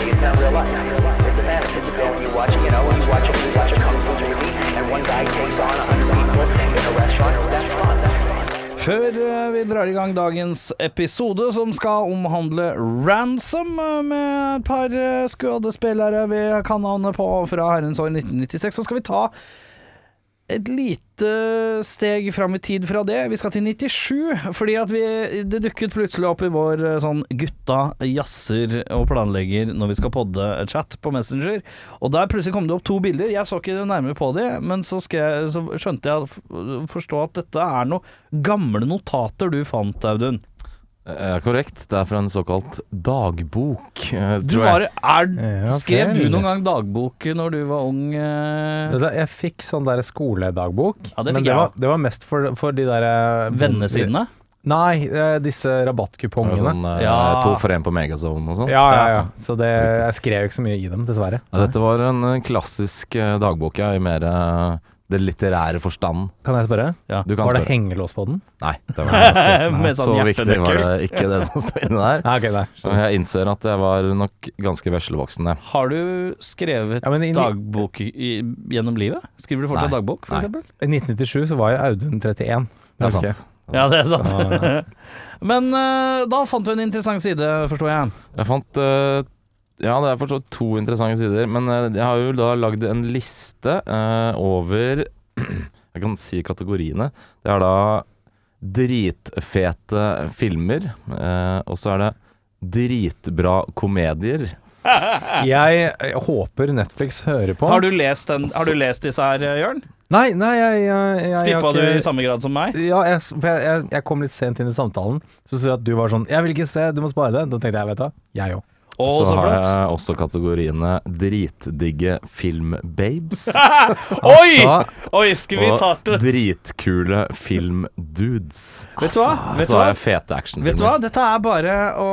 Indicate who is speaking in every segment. Speaker 1: life. It's a fantasy. It's a film. You watch, you know, you watch, you watch a kung fu movie, and one guy takes on a hundred people in a restaurant. That's fun. That's fun.
Speaker 2: Før eh, vi drar i gang dagens episode, som skal omhandle Ransom, eh, med et par eh, skuespillere vi kan navnet på fra herrens år 1996, så skal vi ta et lite steg fram i tid fra det. Vi skal til 97, fordi at vi, det dukket plutselig opp i vår eh, sånn gutta jazzer og planlegger når vi skal podde chat på Messenger. Og der plutselig kom det opp to bilder. Jeg så ikke nærmere på de, men så, skrev, så skjønte jeg f- forstå at dette er noen gamle notater du fant, Audun.
Speaker 3: Eh, korrekt. Det er fra en såkalt dagbok, eh,
Speaker 2: Du
Speaker 3: tror jeg.
Speaker 2: var, er,
Speaker 4: Ja,
Speaker 2: skrev du
Speaker 4: vel.
Speaker 2: noen gang dagbok når du var ung? eh?
Speaker 4: Altså, Jeg fikk sånn der skoledagbok,
Speaker 2: Ja, det fikk
Speaker 4: men
Speaker 2: jeg
Speaker 4: det var,
Speaker 2: også.
Speaker 4: det var mest for, for de der eh,
Speaker 2: Vennesidene?
Speaker 4: Nei, eh, disse
Speaker 3: Det var
Speaker 4: rabattkupongene.
Speaker 3: Sånn, eh,
Speaker 2: Ja.
Speaker 3: To for én på Megazone og sånn.
Speaker 4: Ja, ja, ja. Så det, jeg skrev ikke så mye i dem, dessverre.
Speaker 3: Ja, Dette var en eh, klassisk eh, dagbok, ja, i mer eh, det litterære forstanden.
Speaker 4: Kan jeg spørre?
Speaker 2: Ja.
Speaker 3: Du kan
Speaker 4: Var det
Speaker 3: spørre.
Speaker 4: hengelås på den?
Speaker 3: Nei, det var det ikke. Nei,
Speaker 2: Med sånn
Speaker 3: så viktig
Speaker 2: hjertenøkkel.
Speaker 3: var det ikke, det som står inni der.
Speaker 4: Nei, ok, nei.
Speaker 3: Så jeg innser at jeg var nok ganske veslevoksen, jeg.
Speaker 2: Har du skrevet
Speaker 4: Ja, men i, ni-
Speaker 2: dagbok i, gjennom livet? Skriver du fortsatt
Speaker 3: Nei.
Speaker 2: dagbok,
Speaker 3: Nei.
Speaker 2: f.eks.?
Speaker 4: I 1997 så var jo Audun 31.
Speaker 3: Det er
Speaker 4: husker jeg.
Speaker 3: sant.
Speaker 2: Ja, det er sant.
Speaker 4: Så-
Speaker 2: Men eh, da fant du en interessant side, forstår jeg.
Speaker 3: Jeg fant eh, Ja, det er fortsatt to interessante sider, men eh, jeg har jo da lagd en liste eh, over Jeg kan si kategoriene. Det er da dritfete filmer, eh, og så er det dritbra komedier.
Speaker 4: Jeg, jeg håper Netflix hører på.
Speaker 2: Har du lest, den, har du lest disse her, eh, Jørn?
Speaker 4: Nei, nei, jeg, jeg, jeg, jeg
Speaker 2: Skippa
Speaker 4: har
Speaker 2: du
Speaker 4: ikke-
Speaker 2: i samme grad som meg?
Speaker 4: Ja, jeg, for jeg, jeg, jeg kom litt sent inn i samtalen. Så så jeg at du var sånn 'Jeg vil ikke se, du må spare det'. Da tenkte jeg, vet du hva, jeg òg.
Speaker 2: Å,
Speaker 3: så,
Speaker 2: så
Speaker 3: har
Speaker 2: flott.
Speaker 3: jeg også kategoriene dritdigge filmbabes
Speaker 2: Oi!
Speaker 4: Altså,
Speaker 2: Oi, skal vi ta
Speaker 3: og
Speaker 2: det
Speaker 3: dritkule filmdudes.
Speaker 2: Vet du hva? Vet du
Speaker 3: Så har
Speaker 2: hva?
Speaker 3: jeg fete
Speaker 2: Vet du hva,
Speaker 3: actionfilmer.
Speaker 2: dette er bare å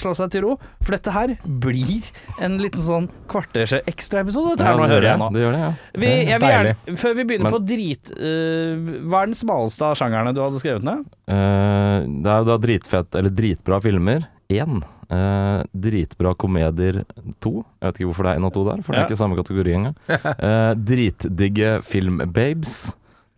Speaker 2: slå seg til ro, for dette her blir en liten sånn kvarters ekstraepisode. Dette her, nå
Speaker 3: det
Speaker 2: hører
Speaker 3: gjør
Speaker 2: jeg nå.
Speaker 3: det. Det gjør det, ja.
Speaker 2: Vi, jeg vil
Speaker 4: Deilig.
Speaker 2: gjerne, før vi begynner
Speaker 3: Men-
Speaker 2: på drit... eh, hva er den smaleste av sjangerne du hadde skrevet ned?
Speaker 3: Eh, det er jo da dritfett, eller dritbra filmer. Én. Eh, dritbra komedier to. Jeg vet ikke hvorfor det er én og to der, for det
Speaker 2: Ja.
Speaker 3: er ikke samme kategori engang. Eh, dritdigge filmbabes.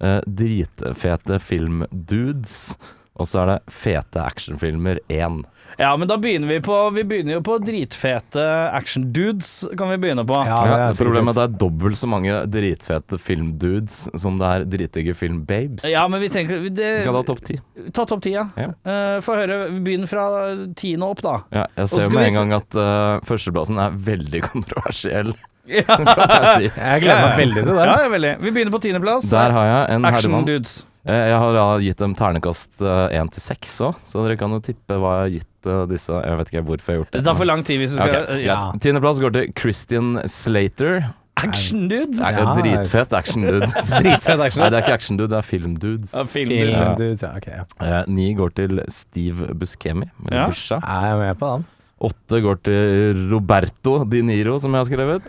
Speaker 3: Eh, dritfete filmdudes. Og så er det fete actionfilmer én.
Speaker 2: Ja, men da begynner vi på Vi begynner jo på dritfete actiondudes, kan vi begynne på.
Speaker 4: Ja, det er
Speaker 3: det problemet
Speaker 4: sikkert.
Speaker 3: er at det er dobbelt så mange dritfete filmdudes som det er dritdigge filmbabes.
Speaker 2: Ja, men vi tenker det,
Speaker 3: Vi kan ta topp ti.
Speaker 2: Ta topp ti, ja.
Speaker 3: Ja.
Speaker 2: Eh, Få høre. Begynn fra tiende opp, da.
Speaker 3: Ja,
Speaker 2: Og
Speaker 3: jeg
Speaker 2: skal
Speaker 3: ser jo
Speaker 2: vi
Speaker 3: med en
Speaker 2: se-
Speaker 3: gang at eh, førsteplassen er veldig kontroversiell,
Speaker 2: Ja,
Speaker 3: kan jeg si.
Speaker 4: Jeg gleder meg veldig til det.
Speaker 2: ja, veldig. Vi begynner på tiendeplass.
Speaker 3: Der har jeg en herremann.
Speaker 2: Actiondudes.
Speaker 3: Eh, Jeg har da gitt dem ternekast én til seks òg, så dere kan jo tippe hva jeg har gitt eh, disse. Jeg vet ikke hvorfor jeg har gjort
Speaker 2: Det
Speaker 3: det.
Speaker 2: tar for lang tid hvis vi
Speaker 3: Ok,
Speaker 2: skal
Speaker 3: greit.
Speaker 2: ja.
Speaker 3: Tiendeplass går til Christian Slater.
Speaker 2: Actiondude?
Speaker 3: Det er
Speaker 4: Ja.
Speaker 3: Dritfett actiondude.
Speaker 4: Dritfett action.
Speaker 3: Nei, det er ikke actiondude, det er filmdudes.
Speaker 2: Ja, filmdude.
Speaker 4: Film,
Speaker 3: Ja.
Speaker 4: dudes, ja, ok, ja.
Speaker 3: Eh, Ni går til Steve Buscemi.
Speaker 2: Ja.
Speaker 3: Eller Busha.
Speaker 4: Jeg er med på den.
Speaker 3: Åtte går til Roberto Di Niro, som jeg har skrevet.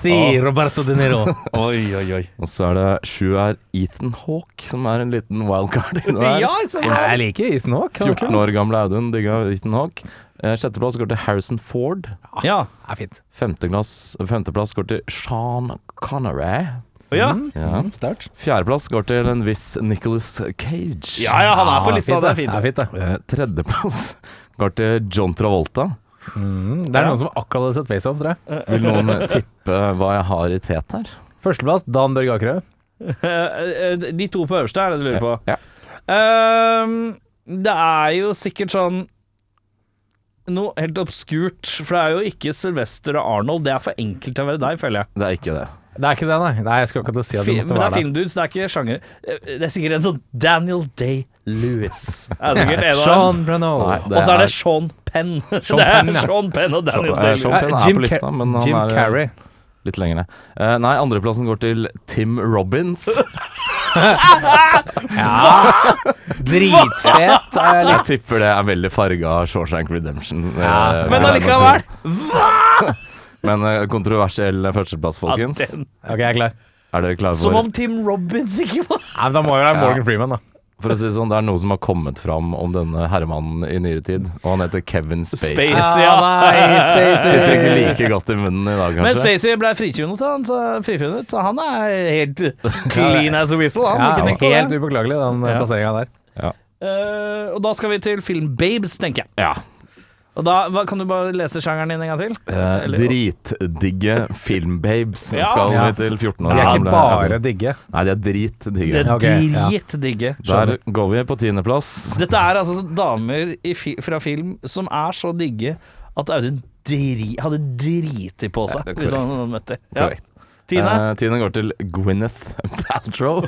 Speaker 4: Si Roberto De Niro.
Speaker 2: Oi, oi, oi.
Speaker 3: Og så er det sju er Ethan Hawke, som er en liten wildcard inni der.
Speaker 2: Ja, så
Speaker 4: Jeg liker isen òg.
Speaker 3: 14 år gamle Audun digga Ethan Hawke. Eh, Sjetteplass går til Harrison Ford.
Speaker 2: Ja.
Speaker 4: er fint.
Speaker 3: Femteplass, femteplass går til Sean Connery.
Speaker 2: Ja.
Speaker 4: Mm.
Speaker 3: Ja.
Speaker 4: Sterkt.
Speaker 3: Fjerdeplass går til en viss Nicholas Cage.
Speaker 2: ja ja, han er på lista. Det er
Speaker 4: Det er
Speaker 2: fint.
Speaker 4: fint, det.
Speaker 3: Eh, Tredjeplass går til John Travolta.
Speaker 4: Mm, det er noen som akkurat hadde sett Face Off, tror jeg.
Speaker 3: Vil noen tippe hva jeg har i tet her?
Speaker 4: Førsteplass Dan Børge Akerø.
Speaker 2: Eh, eh, De to på øverste er det du lurer på.
Speaker 3: Ja.
Speaker 2: Ehm, det er jo sikkert sånn noe helt obskurt, for det er jo ikke Sylvester og Arnold. Det er for enkelt til å være deg, føler jeg.
Speaker 3: Det er ikke det.
Speaker 4: Det er ikke det, nei. nei jeg skulle akkurat si at
Speaker 2: Fi-
Speaker 4: det
Speaker 2: men
Speaker 4: måtte
Speaker 2: det er
Speaker 4: være det.
Speaker 2: filmdudes, det er ikke sjanger. Eh, Det er sikkert en sånn Daniel Day-Lewis. Det er sikkert en av dem.
Speaker 4: Sean Breno.
Speaker 3: Nei,
Speaker 2: Og så er det Sean Penn. det er
Speaker 4: Penn, ja.
Speaker 2: Sean Penn og Daniel
Speaker 3: Sean- eh, Sean-
Speaker 2: Day-Lewis.
Speaker 3: Penn er på lista, men han
Speaker 4: Jim
Speaker 3: er-
Speaker 4: Carrey.
Speaker 3: Litt lenger ned. Eh, Nei, andreplassen går til Tim Robins.
Speaker 4: Dritfet. er jeg litt.
Speaker 3: Jeg tipper det er veldig farga av Shawshank Redemption. eh,
Speaker 4: Ja,
Speaker 2: Men allikevel!
Speaker 3: Men eh, kontroversiell førsteplass,
Speaker 2: Ja,
Speaker 3: folkens.
Speaker 2: den-
Speaker 4: Ok, jeg er klar.
Speaker 3: Er dere klare
Speaker 2: Som
Speaker 3: for
Speaker 2: om Tim Robbins ikke var
Speaker 4: Nei, men da må jo være Morgan Freeman, da.
Speaker 3: For å si det sånn, det er noe som har kommet fram om denne herremannen i nyere tid, og han heter Kevin Spacey.
Speaker 2: Spacey.
Speaker 4: Ah, nei, Spacey.
Speaker 3: Sitter ikke like godt i munnen i dag,
Speaker 2: Men
Speaker 3: kanskje.
Speaker 2: Spacey ble frifunnet, han, så, frifunnet, så han er helt clean as a whistle. Han,
Speaker 4: Ja,
Speaker 2: ikke tenk på
Speaker 4: helt
Speaker 2: det.
Speaker 4: upåklagelig, den
Speaker 2: Ja.
Speaker 4: plasseringa der.
Speaker 2: Eh, og da skal vi til film Babes, tenker jeg.
Speaker 3: Ja.
Speaker 2: Og da, hva, Kan du bare lese sjangeren din en gang til?
Speaker 3: Eh,
Speaker 2: Eller-
Speaker 3: dritdigge filmbabes
Speaker 2: Ja.
Speaker 3: skal
Speaker 4: Ja.
Speaker 3: vi til 14
Speaker 4: De
Speaker 3: år.
Speaker 4: er ikke
Speaker 3: gamle.
Speaker 4: bare digge.
Speaker 3: Nei, de er
Speaker 2: Det
Speaker 3: dritdigge.
Speaker 2: er
Speaker 4: ok, ja.
Speaker 2: dritdigge.
Speaker 3: Der går vi på tiendeplass.
Speaker 2: Dette er altså damer i fi, fra film som er så digge at Audun dri, hadde driti på seg
Speaker 3: Ja, korrekt.
Speaker 2: hvis han hadde møtt dem. Ja.
Speaker 3: Korrekt.
Speaker 2: Tine,
Speaker 3: Eh, Tine går til Gwyneth Paltrow.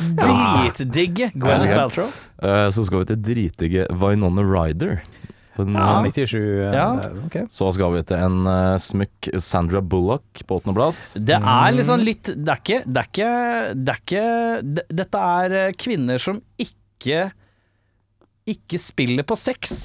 Speaker 2: dritdigge Gwyneth
Speaker 3: Ja, det er-
Speaker 2: Paltrow.
Speaker 3: Eh, så skal vi til dritdige Vinonna Ryder. På den-
Speaker 2: Ja.
Speaker 4: 97 eh,
Speaker 2: Ja.
Speaker 4: ok.
Speaker 3: Så skal vi til en eh, smykk Sandra Bullock på åttendeplass.
Speaker 2: Det
Speaker 3: Mm.
Speaker 2: er liksom litt Det er ikke Det er ikke, det er ikke det, Dette er eh, kvinner som ikke Ikke spiller på sex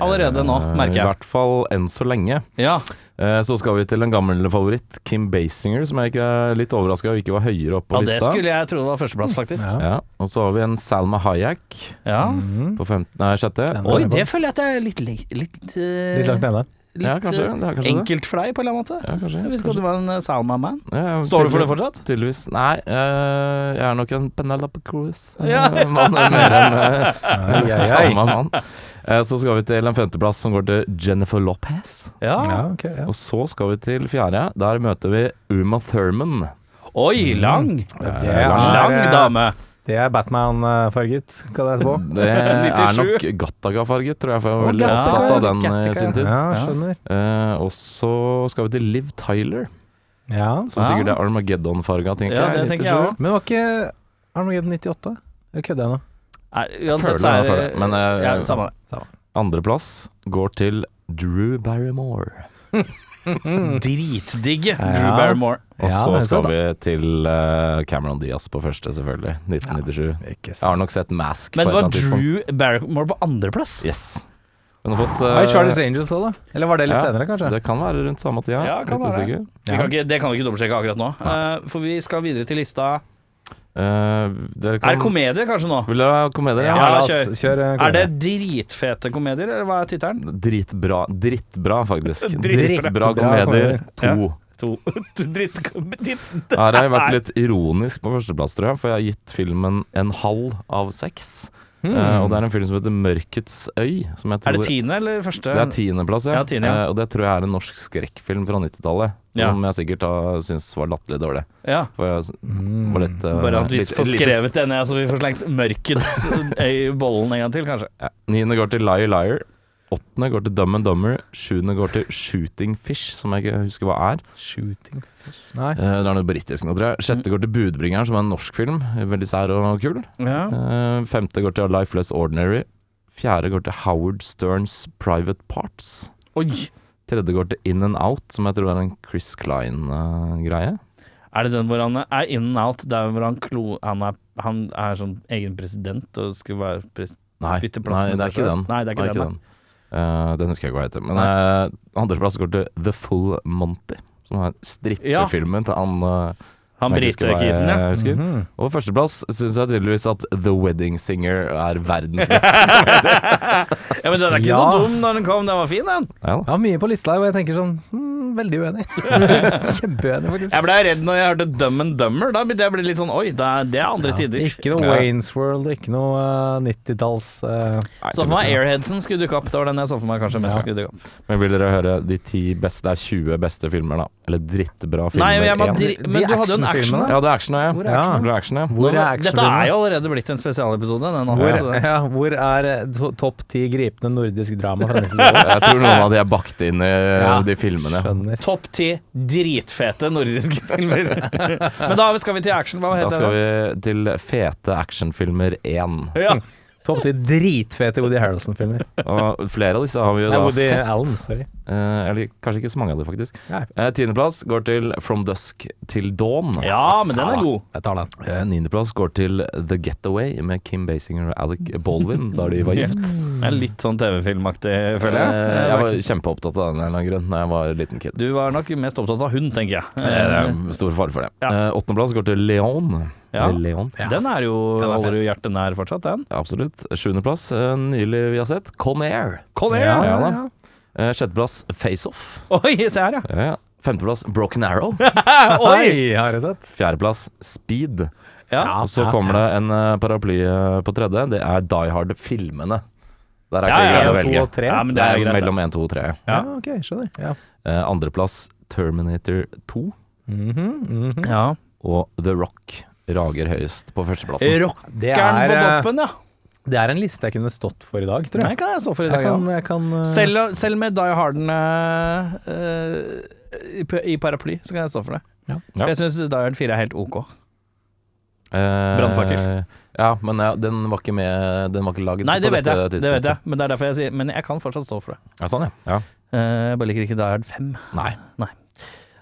Speaker 2: allerede nå,
Speaker 3: Eh, I
Speaker 2: merker jeg.
Speaker 3: hvert fall enn så lenge.
Speaker 2: Ja.
Speaker 3: Eh, Så skal vi til en gammel favoritt, Kim Basinger, som jeg ikke er litt overraska over ikke var høyere oppe
Speaker 2: ja,
Speaker 3: på
Speaker 2: det
Speaker 3: lista.
Speaker 2: skulle jeg tro var førsteplass, faktisk.
Speaker 4: Ja.
Speaker 3: Ja, Mm, og så har vi en Salma Hayek
Speaker 2: Ja.
Speaker 3: på fem, nei, sjette.
Speaker 4: Den
Speaker 2: Oi,
Speaker 4: er på.
Speaker 2: det føler jeg at det er litt Litt, litt, eh,
Speaker 4: Litt langt nede.
Speaker 2: litt,
Speaker 3: Ja, kanskje,
Speaker 2: eh,
Speaker 3: det er kanskje det.
Speaker 2: Enkeltflei, på en eller annen måte.
Speaker 3: Ja, kanskje,
Speaker 2: Jeg visste ikke
Speaker 3: kanskje.
Speaker 2: at du var en eh, Salma-man.
Speaker 3: Ja,
Speaker 2: Står du for det
Speaker 3: tydelig-
Speaker 2: fortsatt?
Speaker 3: Tydeligvis. Nei, eh, jeg er nok en Penelope Cruz. eh,
Speaker 2: Ja.
Speaker 3: mann er mer enn
Speaker 4: Ai,
Speaker 3: eh,
Speaker 4: ai, ai.
Speaker 3: Salma mann. Eh, Så skal vi til en femteplass som går til Jennifer Lopez.
Speaker 4: Ja, ok, ja.
Speaker 3: Og så skal vi til fjerde. Der møter vi Uma Thurman.
Speaker 2: Oi,
Speaker 3: Mm.
Speaker 2: lang!
Speaker 4: Det er, eh,
Speaker 2: Lang dame.
Speaker 4: Det er Batman-farget, kan jeg spå.
Speaker 3: Det er
Speaker 2: 97.
Speaker 3: nok Gattaga-farget, tror jeg, for jeg var
Speaker 2: Å,
Speaker 3: veldig
Speaker 2: Gattaca,
Speaker 3: opptatt av
Speaker 2: ja.
Speaker 3: den eh, i
Speaker 2: Gattaca,
Speaker 3: sin tid.
Speaker 4: Ja, skjønner.
Speaker 3: Eh, og så skal vi til Liv Tyler,
Speaker 4: Ja.
Speaker 3: som
Speaker 2: Ja.
Speaker 3: sikkert er Armageddon-farga, tenker
Speaker 2: Ja, det
Speaker 3: jeg.
Speaker 2: tenker jeg òg.
Speaker 4: Men var ikke Armageddon 98? Eller kødder jeg nå?
Speaker 3: Føler
Speaker 2: Uansett så
Speaker 3: jeg
Speaker 2: er
Speaker 3: føler det, men, eh,
Speaker 2: ja, samme det.
Speaker 3: Andreplass går til Drew Barrymore. mm.
Speaker 2: Dritdigge
Speaker 4: Ja.
Speaker 2: Drew Barrymore.
Speaker 3: Og
Speaker 4: Ja,
Speaker 3: så
Speaker 4: men
Speaker 3: skal
Speaker 4: sant,
Speaker 3: vi til eh, Cameron Diaz på første, selvfølgelig. 1997.
Speaker 4: Ikke
Speaker 3: Jeg har nok sett Mask
Speaker 2: Men
Speaker 3: på et
Speaker 2: var
Speaker 3: eller annet tidspunkt.
Speaker 2: Drew Barrymore på andreplass?
Speaker 3: Yes. Hun har fått eh,
Speaker 4: Var det Charles Angels òg, da? Eller var det litt
Speaker 3: ja,
Speaker 4: senere, kanskje?
Speaker 3: Det kan være rundt samme tida.
Speaker 2: Ja, kan
Speaker 3: Litt
Speaker 2: være.
Speaker 3: usikker.
Speaker 2: Vi kan ikke, det kan vi ikke dobbeltsjekke akkurat nå. Eh, for vi skal videre til lista.
Speaker 3: Eh,
Speaker 2: Er
Speaker 3: dere
Speaker 2: det
Speaker 3: kan
Speaker 2: komedie kanskje nå?
Speaker 3: Vil dere ha komedier?
Speaker 4: Ja,
Speaker 2: Ja,
Speaker 4: la oss
Speaker 2: kjør.
Speaker 4: kjøre
Speaker 2: Er det dritfete komedier, eller hva er tittelen?
Speaker 3: Dritbra, drittbra faktisk.
Speaker 2: Drittbra.
Speaker 3: Drittbra
Speaker 4: komedier.
Speaker 3: komedier to.
Speaker 2: To drittkomedier.
Speaker 3: Her har jeg vært litt ironisk på førsteplass, tror jeg, for jeg har gitt filmen en halv av seks.
Speaker 4: Hmm.
Speaker 3: Eh, og det er en film som heter 'Mørkets øy'. Som jeg
Speaker 2: Mm.
Speaker 3: tror
Speaker 2: Er det tiende eller første?
Speaker 3: Det er tiendeplass, ja.
Speaker 2: Ja, tiende, ja.
Speaker 3: Eh, og det tror jeg er en norsk skrekkfilm fra 90-tallet.
Speaker 2: Ja.
Speaker 3: Som jeg sikkert har syntes var latterlig dårlig.
Speaker 2: Ja.
Speaker 3: For jeg s-
Speaker 4: Hmm.
Speaker 3: var litt, eh,
Speaker 2: Mm. Bare at vi
Speaker 3: litt-
Speaker 2: får
Speaker 3: litt-
Speaker 2: skrevet denne, så vi får slengt mørkets øy i bollen en gang til, kanskje.
Speaker 3: Ja. Niende går til Liar Liar. Åttende går til Dumb and Dumber. Sjuende går til Shooting Fish, som jeg ikke husker hva er.
Speaker 4: Shooting Fish? Nei.
Speaker 3: Eh, det er noe britisk nå, tror jeg. Sjette går til Budbringeren, som er en norsk film. Veldig sær og kul.
Speaker 2: Ja.
Speaker 3: Eh, Femte går til A Life Less Ordinary. Fjerde går til Howard Sterns Private Parts.
Speaker 2: Oi!
Speaker 3: Tredje går til In and Out, som jeg tror er en Chris Klein-greie.
Speaker 2: Er det den hvor han er in and out? Det er hvor han, klo, han, er, han er sånn egen president og skal være pres
Speaker 3: Nei, nei,
Speaker 2: bytte
Speaker 3: det
Speaker 2: plass med
Speaker 3: er
Speaker 2: seg
Speaker 3: ikke
Speaker 2: selv.
Speaker 3: den.
Speaker 2: Nei, det er ikke den,
Speaker 3: Eh, den husker jeg ikke hva heter. Men eh, andreplass går til The Full Monty, som er strippefilmen til han eh,
Speaker 2: Han
Speaker 3: som jeg ikke husker hva
Speaker 2: britekisen, ja.
Speaker 3: jeg husker.
Speaker 4: Mhm.
Speaker 3: Og førsteplass syns jeg tydeligvis at The Wedding Singer er verdens beste.
Speaker 2: ja. Men den er ikke
Speaker 4: Ja.
Speaker 2: så dum når den kom, den var fin, den.
Speaker 3: ja, da.
Speaker 4: Jeg har mye på lista her hvor jeg tenker sånn hmm, Veldig uenig. Kjempeuenig, faktisk.
Speaker 2: Jeg blei redd når jeg hørte Dumb and Dummer. Da begynte jeg å bli litt sånn Oi, det er, det er andre tider.
Speaker 4: Ikke noe
Speaker 3: Ja.
Speaker 4: Waynes World, ikke noe eh, 90-talls eh,
Speaker 3: Nei,
Speaker 2: Så for meg
Speaker 3: tydeligvis, ja.
Speaker 2: Airheadsen skulle dukke opp. Det var den jeg så for meg kanskje mest
Speaker 4: Ja.
Speaker 2: skulle dukke opp.
Speaker 3: Men vil dere høre de ti beste Det er 20 beste filmer, da. Eller drittbra filmer.
Speaker 2: Nei, men, jeg må,
Speaker 3: én.
Speaker 2: dri
Speaker 4: De
Speaker 2: men du hadde jo en action.
Speaker 4: actionfilmene.
Speaker 3: Ja, det er action, ja.
Speaker 4: Hvor er
Speaker 3: Ja,
Speaker 4: actionen?
Speaker 3: det er action, ja.
Speaker 4: Hvor er
Speaker 2: Dette
Speaker 4: actionfilmene?
Speaker 2: er jo Altså- allerede blitt en spesialepisode. Den
Speaker 4: Hvor,
Speaker 2: andre, så det-
Speaker 4: ja, hvor er eh, to- topp ti gripende nordisk drama fra 90-tallet?
Speaker 3: Jeg tror noen av de er bakt inn i
Speaker 4: Ja.
Speaker 3: de filmene.
Speaker 4: Skjønner.
Speaker 2: Topp ti dritfete nordiske filmer. Men da skal vi til action. Hva
Speaker 3: Da
Speaker 2: heter
Speaker 3: skal
Speaker 2: det?
Speaker 3: vi til fete actionfilmer 1.
Speaker 2: Ja.
Speaker 4: Topp ti dritfete Woody Harrelson-filmer.
Speaker 3: Og flere av disse har vi jo
Speaker 4: Nei,
Speaker 3: da
Speaker 4: Woody
Speaker 3: sett.
Speaker 4: Allen, sorry.
Speaker 3: Eh, eller kanskje ikke så mange av dem, faktisk.
Speaker 4: Nei.
Speaker 3: Eh, Tiendeplass går til From Dusk til Dawn.
Speaker 2: ja, men den er god.
Speaker 4: Jeg tar den.
Speaker 3: Eh, Niendeplass går til The Getaway med Kim Basinger og Alec Baldwin da de var gift.
Speaker 2: Det er litt sånn TV-filmaktig, føler jeg.
Speaker 3: Eh,
Speaker 2: Det
Speaker 3: jeg
Speaker 2: var
Speaker 3: var
Speaker 2: ikke-
Speaker 3: kjempeopptatt av den av en eller annen grunn da jeg var liten kid.
Speaker 2: Du var nok mest opptatt av hund, tenker jeg.
Speaker 3: Eh, det
Speaker 2: Eh,
Speaker 3: er stor fare for det.
Speaker 2: Ja.
Speaker 3: Eh, Åttendeplass går til Leon.
Speaker 2: Ja.
Speaker 3: eller Leon.
Speaker 2: Den er jo
Speaker 4: Den er
Speaker 2: holder
Speaker 4: fet.
Speaker 2: jo hjertet nær fortsatt, den.
Speaker 3: Absolutt. Sjuendeplass, eh, nylig vi har sett, Con Air.
Speaker 2: Con Air,
Speaker 3: Ja,
Speaker 2: ja.
Speaker 3: ja, da. Eh, Sjetteplass, Face Off.
Speaker 2: Oi, se her, ja.
Speaker 3: Ja, ja. Femteplass, Broken Arrow.
Speaker 2: Oi!
Speaker 4: Hei, har jeg sett.
Speaker 3: Fjerdeplass, Speed.
Speaker 2: Ja.
Speaker 3: Og så kommer det en eh, paraply eh, på tredje. Det er Die Hard-filmene. Der er
Speaker 2: Ja,
Speaker 3: ikke
Speaker 2: ja,
Speaker 3: det
Speaker 2: ja,
Speaker 3: greit å
Speaker 4: to
Speaker 3: velge.
Speaker 4: og tre.
Speaker 2: Ja, men
Speaker 3: det er
Speaker 2: greit,
Speaker 3: mellom 1, 2 og 3.
Speaker 4: Ja,
Speaker 2: Ja.
Speaker 4: ok, skjønner. Ja.
Speaker 3: Eh, Andreplass Terminator 2
Speaker 4: Mhm, mhm.
Speaker 2: Ja.
Speaker 3: og The Rock rager høyest på førsteplassen.
Speaker 2: Rockeren
Speaker 4: det, er,
Speaker 2: på
Speaker 4: eh,
Speaker 2: toppen, ja.
Speaker 4: det er en liste jeg kunne stått for i dag, tror
Speaker 2: Det
Speaker 4: jeg.
Speaker 2: kan jeg stå for i
Speaker 4: Jeg
Speaker 2: dag, ja.
Speaker 4: kan, jeg kan eh,
Speaker 2: Selv, selv med Die Harden eh, eh, i, p- i paraply, så kan jeg stå for det.
Speaker 4: Ja.
Speaker 2: For jeg syns Die Hard 4 er helt ok.
Speaker 3: Eh,
Speaker 2: Brannfakkel.
Speaker 3: Ja, men ja, den var ikke med Den var ikke laget
Speaker 2: Nei, det
Speaker 3: på
Speaker 2: vet,
Speaker 3: dette
Speaker 2: jeg, det vet
Speaker 3: tidspunktet.
Speaker 2: jeg, men det er derfor jeg sier Men jeg kan fortsatt stå for det.
Speaker 3: Ja, sånn, ja. ja.
Speaker 2: Eh, jeg bare liker ikke Die Hard 5.
Speaker 3: Nei.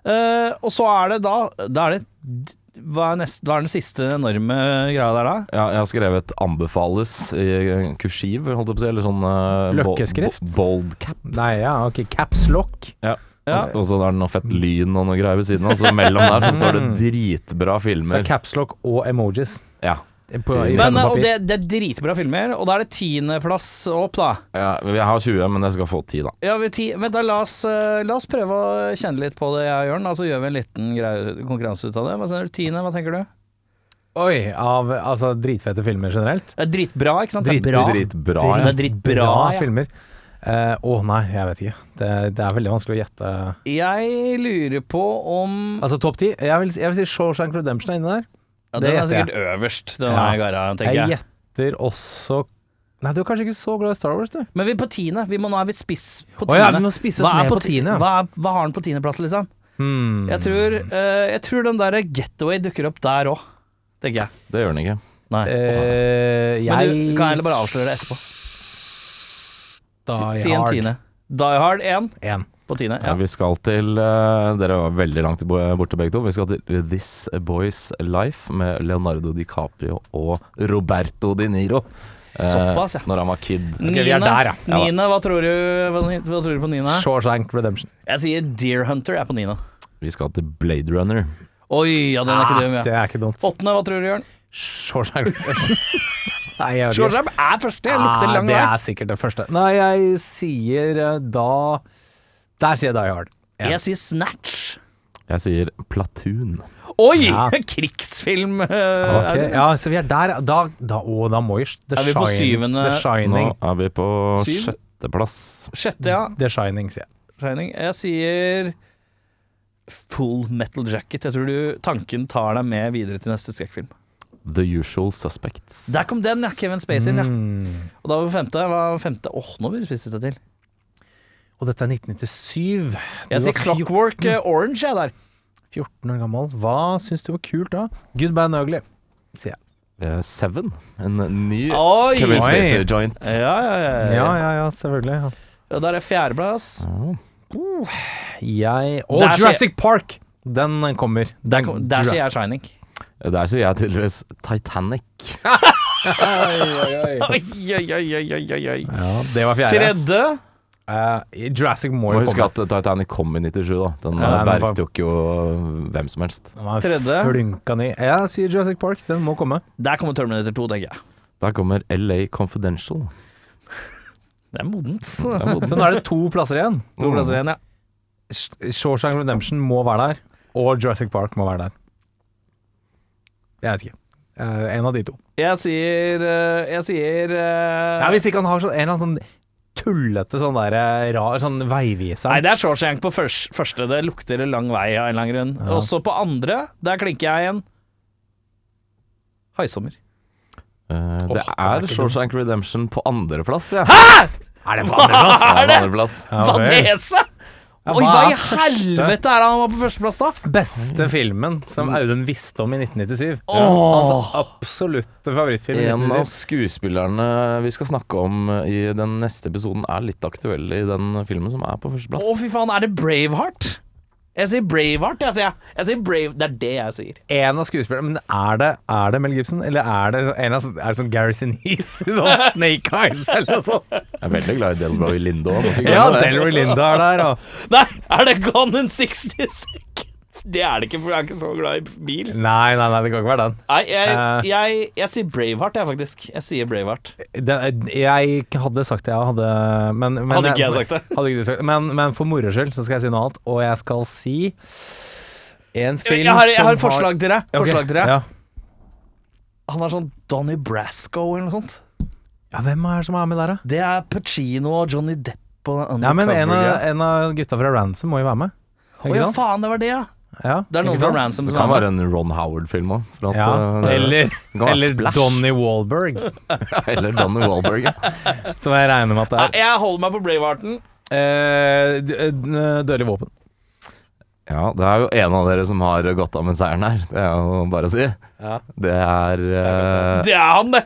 Speaker 2: Eh, og så er det da Da er det d- hva er, nest, hva er den siste enorme greia der, da?
Speaker 3: Ja, jeg har skrevet 'anbefales' i kursiv, holdt jeg på å si, eller sånn eh, bo-
Speaker 4: Løkkeskrift?
Speaker 3: bo- Bold cap.
Speaker 4: Nei, ja, ok. Caps lock.
Speaker 2: Ja.
Speaker 3: Og så er det noe fett lyn og noe greier ved siden av, så mellom der så står det dritbra
Speaker 4: Mm. Så
Speaker 3: filmer.
Speaker 4: caps lock og emojis.
Speaker 3: Ja.
Speaker 4: På, i
Speaker 2: Men,
Speaker 3: Men,
Speaker 4: penne
Speaker 2: eh, og
Speaker 4: papir.
Speaker 2: det, det er dritbra filmer, og da er det tiendeplass opp, da.
Speaker 3: ja. Jeg har 20, men jeg skal få 10, da.
Speaker 2: Ja, vi ti, vent da, la oss, eh, la oss prøve å kjenne litt på det, jeg og Jørn. Altså, gjør vi en liten grei, konkurranse ut av det? Hva sier du? Tiende, hva tenker du?
Speaker 4: Oi, av altså, dritfete filmer generelt.
Speaker 2: Det er dritbra, ikke sant?
Speaker 4: Drit-
Speaker 2: det er bra.
Speaker 3: Dritbra,
Speaker 2: Drit-
Speaker 3: ja.
Speaker 2: Det er dritbra, ja.
Speaker 4: filmer. Eh, Å nei, jeg vet ikke. Det, det er veldig vanskelig å gjette.
Speaker 2: Jeg lurer på om
Speaker 4: Altså topp ti? Jeg, vil- jeg vil si Shawshank Redemption er inne der.
Speaker 2: ja, Den
Speaker 4: det
Speaker 2: er
Speaker 4: gjetter jeg.
Speaker 2: sikkert øverst, den
Speaker 4: Ja.
Speaker 2: er gara, tenker
Speaker 4: Jeg
Speaker 2: jeg.
Speaker 4: gjetter også Nei, du er kanskje ikke så glad i Star Wars, du.
Speaker 2: Men vi er på tiende. Vi må nå er vi spiss på
Speaker 4: Å ja, vi
Speaker 2: tiende.
Speaker 4: må spisses
Speaker 2: Hva,
Speaker 4: ned
Speaker 2: er
Speaker 4: på
Speaker 2: på ti-
Speaker 4: tiende.
Speaker 2: hva, er- hva har han på tiendeplass, liksom?
Speaker 4: Hmm.
Speaker 2: Jeg, tror, eh, jeg tror den derre Getaway dukker opp der òg, tenker jeg.
Speaker 3: Det gjør den ikke.
Speaker 2: Nei.
Speaker 4: Eh, jeg
Speaker 2: Men du kan heller bare avsløre det etterpå. Si, si en tiende. Die Hard 1
Speaker 4: En.
Speaker 2: på tiende.
Speaker 3: Ja.
Speaker 2: Ja.
Speaker 3: Vi skal til eh, Dere var veldig langt bo- borte begge to. Vi skal til This Boy's Life med Leonardo DiCaprio og Roberto Di Niro. Eh,
Speaker 2: Såpass, ja.
Speaker 3: Når han var kid.
Speaker 4: Ok, vi er der, ja.
Speaker 3: Ja da.
Speaker 2: Nina, hva tror du, hva, hva tror du på Nina?
Speaker 4: Shawshank Redemption.
Speaker 2: Jeg sier Deer Hunter er på Nina.
Speaker 3: Vi skal til Blade Runner.
Speaker 2: Oi, ja, den er ikke dum,
Speaker 4: Ah, Det
Speaker 2: ja.
Speaker 4: er ikke dumt.
Speaker 2: Åttende, hva tror du, Jørn?
Speaker 4: Shawshank Redemption. Nei, jeg vet ikke.
Speaker 2: Shortstop er første, jeg lukter
Speaker 4: Ah,
Speaker 2: lang
Speaker 4: det
Speaker 2: vei.
Speaker 4: er sikkert det første. Nei, jeg sier eh, da Der sier jeg Die Hard. Ja.
Speaker 2: Jeg sier Snatch.
Speaker 3: Jeg sier Platoon.
Speaker 2: Oi!
Speaker 4: Ja.
Speaker 2: Krigsfilm. eh,
Speaker 4: Ok,
Speaker 2: er det?
Speaker 4: Ja, så vi er der. Da, da, å, da må jo The
Speaker 2: Er vi på
Speaker 4: Shining-
Speaker 2: syvende-
Speaker 4: The
Speaker 3: Nå
Speaker 4: Shining.
Speaker 3: er vi på
Speaker 2: Syv.
Speaker 3: sjetteplass.
Speaker 2: Sjette, ja.
Speaker 4: The Shining, sier jeg.
Speaker 2: Shining. Jeg sier Full Metal Jacket. Jeg tror du tanken tar deg med videre til neste skrekkfilm.
Speaker 3: The Usual Suspects.
Speaker 2: Der kom den, ja. Kevin Spacey. inn, Ja.
Speaker 4: Mm.
Speaker 2: Og da var vi femte. Hva var femte? Åh, nå blir det spisset til.
Speaker 4: Og dette er 1997.
Speaker 2: Jeg
Speaker 4: Du
Speaker 2: sier
Speaker 4: var Mm.
Speaker 2: Clockwork eh, Orange, jeg, der.
Speaker 4: 14 år gammel. Hva syns du var kult da? Good Bad and Ugly.
Speaker 3: Eh, Seven. En ny
Speaker 2: Oi! Eh.
Speaker 3: Kevin
Speaker 4: Oi.
Speaker 3: Spacer-joint.
Speaker 2: Ja, ja, ja.
Speaker 4: Ja, Mm. ja, ja, selvfølgelig.
Speaker 2: Og der er fjerdeplass.
Speaker 4: Jeg Og
Speaker 2: Der sier-
Speaker 4: Jurassic Park! Den kommer. Den,
Speaker 2: Kom, Der sier jeg
Speaker 4: Jurassic-
Speaker 2: Shining.
Speaker 3: Eh, Der sier jeg tydeligvis Titanic.
Speaker 2: Oi, oi, oi, oi, oi, oi.
Speaker 4: Ja, det var fjerde.
Speaker 2: Tredje.
Speaker 4: Eh, Jurassic må
Speaker 3: Må
Speaker 4: jo
Speaker 3: huske
Speaker 4: komme.
Speaker 3: at Titanic kom i 97, da. Den
Speaker 4: Ja,
Speaker 3: eh,
Speaker 4: den var-
Speaker 3: bergtok jo hvem som helst.
Speaker 4: Den var
Speaker 2: Tredje.
Speaker 4: Flunka ny. Jeg sier Jurassic Park. Den må komme.
Speaker 2: Der kommer Terminator 2, tenker jeg.
Speaker 3: Der kommer LA Confidential.
Speaker 2: Det er modent.
Speaker 4: Så nå er det to plasser igjen.
Speaker 2: To plasser Sånn igjen, ja.
Speaker 4: Sh- Shawshank Redemption må være der, og Jurassic Park må være der. Jeg vet ikke. Eh, en av de to.
Speaker 2: Jeg sier eh, Jeg sier eh,
Speaker 4: Ja, hvis ikke han har sånn, en eller annen sånn tullete sånn der eh, rar sånn veiviser.
Speaker 2: Nei, det er Shawshank på først, første. Det lukter lang vei av en eller annen grunn.
Speaker 4: Ja.
Speaker 2: Og så på andre, der klinker jeg igjen. Haisommer.
Speaker 3: Eh, det er
Speaker 4: Åh, den er ikke
Speaker 3: Shawshank Redemption på andreplass, ja. Hæ?!
Speaker 4: Er det
Speaker 2: andreplass?
Speaker 3: Ja,
Speaker 2: Er det?
Speaker 3: på andreplass.
Speaker 4: Ja, ok.
Speaker 2: Vanese!
Speaker 4: Ja,
Speaker 2: Oi,
Speaker 4: hva
Speaker 2: hva
Speaker 4: er
Speaker 2: i helvete er det han var på førsteplass, da?
Speaker 4: Beste filmen
Speaker 2: Mm.
Speaker 4: som Audun visste om i 1997. Hans absolutte favorittfilm. i
Speaker 3: En av
Speaker 4: 1997.
Speaker 3: skuespillerne vi skal snakke om eh, i den neste episoden, er litt aktuell i den filmen som er på
Speaker 2: Å,
Speaker 3: førsteplass.
Speaker 2: fy faen, er det Braveheart? Jeg sier Braveheart, jeg sier. jeg. Jeg sier Brave... Det er det jeg sier.
Speaker 4: En av skuespillerne Men er det, er det Mel Gibson, eller er det, en av, er det sånn Garrison Hees i sånn Snake Eyes eller noe sånt?
Speaker 3: Jeg er veldig glad i Delroy Lindo.
Speaker 4: Ja, Delroy Linda er der, og
Speaker 2: Nei, er det Gone in 60 Seconds? Det er det ikke, for jeg er ikke så glad i bil.
Speaker 4: Nei, nei, nei, det kan ikke være den.
Speaker 2: Nei, jeg,
Speaker 4: Eh.
Speaker 2: jeg, jeg sier Braveheart, jeg, faktisk. Jeg sier Braveheart.
Speaker 4: det. Jeg hadde sagt det, jeg hadde men, men,
Speaker 2: Hadde ikke jeg sagt det.
Speaker 4: Hadde ikke du sagt det. Men, men for moro skyld så skal jeg si noe annet, og jeg skal si en film
Speaker 2: Jeg har, jeg
Speaker 4: som
Speaker 2: har et forslag til dere.
Speaker 4: Ok,
Speaker 2: Forslag til dere.
Speaker 4: Ja.
Speaker 2: Han er sånn Donnie Brasco eller noe sånt.
Speaker 4: ja, hvem er det som er med der, da?
Speaker 2: Det er Pacino og Johnny Depp og den
Speaker 4: Ja, men en av,
Speaker 2: undercover-greia.
Speaker 4: en av gutta fra Ransom må jo være med.
Speaker 2: Å ja, faen, det var det, ja.
Speaker 4: Ja,
Speaker 2: Det er noen
Speaker 4: ikke
Speaker 2: fra
Speaker 4: sant?
Speaker 2: Ransom
Speaker 3: Det
Speaker 2: som
Speaker 3: kan
Speaker 2: er med.
Speaker 3: være en Ron Howard-film òg.
Speaker 4: Ja.
Speaker 3: eh,
Speaker 4: Eller,
Speaker 3: kan være
Speaker 4: eller
Speaker 3: Splash.
Speaker 4: Donny Wahlberg,
Speaker 3: eller Donny Wahlberg. ja.
Speaker 4: som jeg regner med at det
Speaker 2: Nei,
Speaker 4: er.
Speaker 2: Jeg holder meg på Bravehearten.
Speaker 4: Eh, d- eh, d- Dødelig våpen.
Speaker 3: Ja, det er jo en av dere som har gått av med seieren her. Det er jo bare å si.
Speaker 4: Ja.
Speaker 3: Det er eh,
Speaker 2: Det er han, det!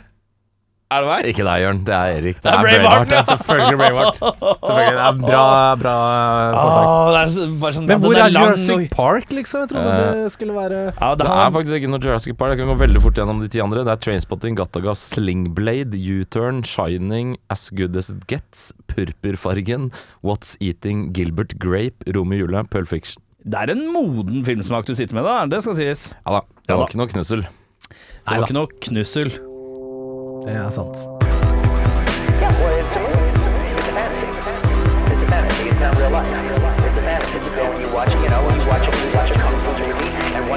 Speaker 2: Er det meg?
Speaker 3: Ikke deg, Jørn. Det er Erik.
Speaker 2: Det er Braveheart,
Speaker 3: Braveheart, altså.
Speaker 4: Selvfølgelig Braveheart. Selvfølgelig. Det er bra, bra forslag.
Speaker 2: Åh, det er så- bare sånn, Ah.
Speaker 4: Men
Speaker 2: ja,
Speaker 4: hvor
Speaker 2: den
Speaker 4: er
Speaker 2: lang
Speaker 4: Jurassic
Speaker 2: og-
Speaker 4: Park, liksom? Jeg trodde
Speaker 3: Eh,
Speaker 4: det skulle være
Speaker 2: Ja, det
Speaker 3: Det
Speaker 2: er
Speaker 3: er
Speaker 2: han.
Speaker 3: faktisk ikke noe Jurassic Park. Jeg kan gå veldig fort gjennom de ti andre. Det er Trainspotting, Gattaga, Slingblade, U-Turn, Shining, As Good As It Gets, Purpurfargen, What's Eating, Gilbert Grape, Rom i jula, Pulp Fiction.
Speaker 2: Det er en moden filmsmak du sitter med, da. Det skal sies.
Speaker 3: Ja da, det
Speaker 2: Ja da.
Speaker 3: var ikke noe knussel.
Speaker 2: Det var ikke noe knussel.
Speaker 4: Det er sant.
Speaker 1: Yeah, well, it's a movie. It's a fantasy. It's a fantasy. It's not real life. It's a fantasy. You go and you watch, you know, you watch a, you watch a kung fu movie, and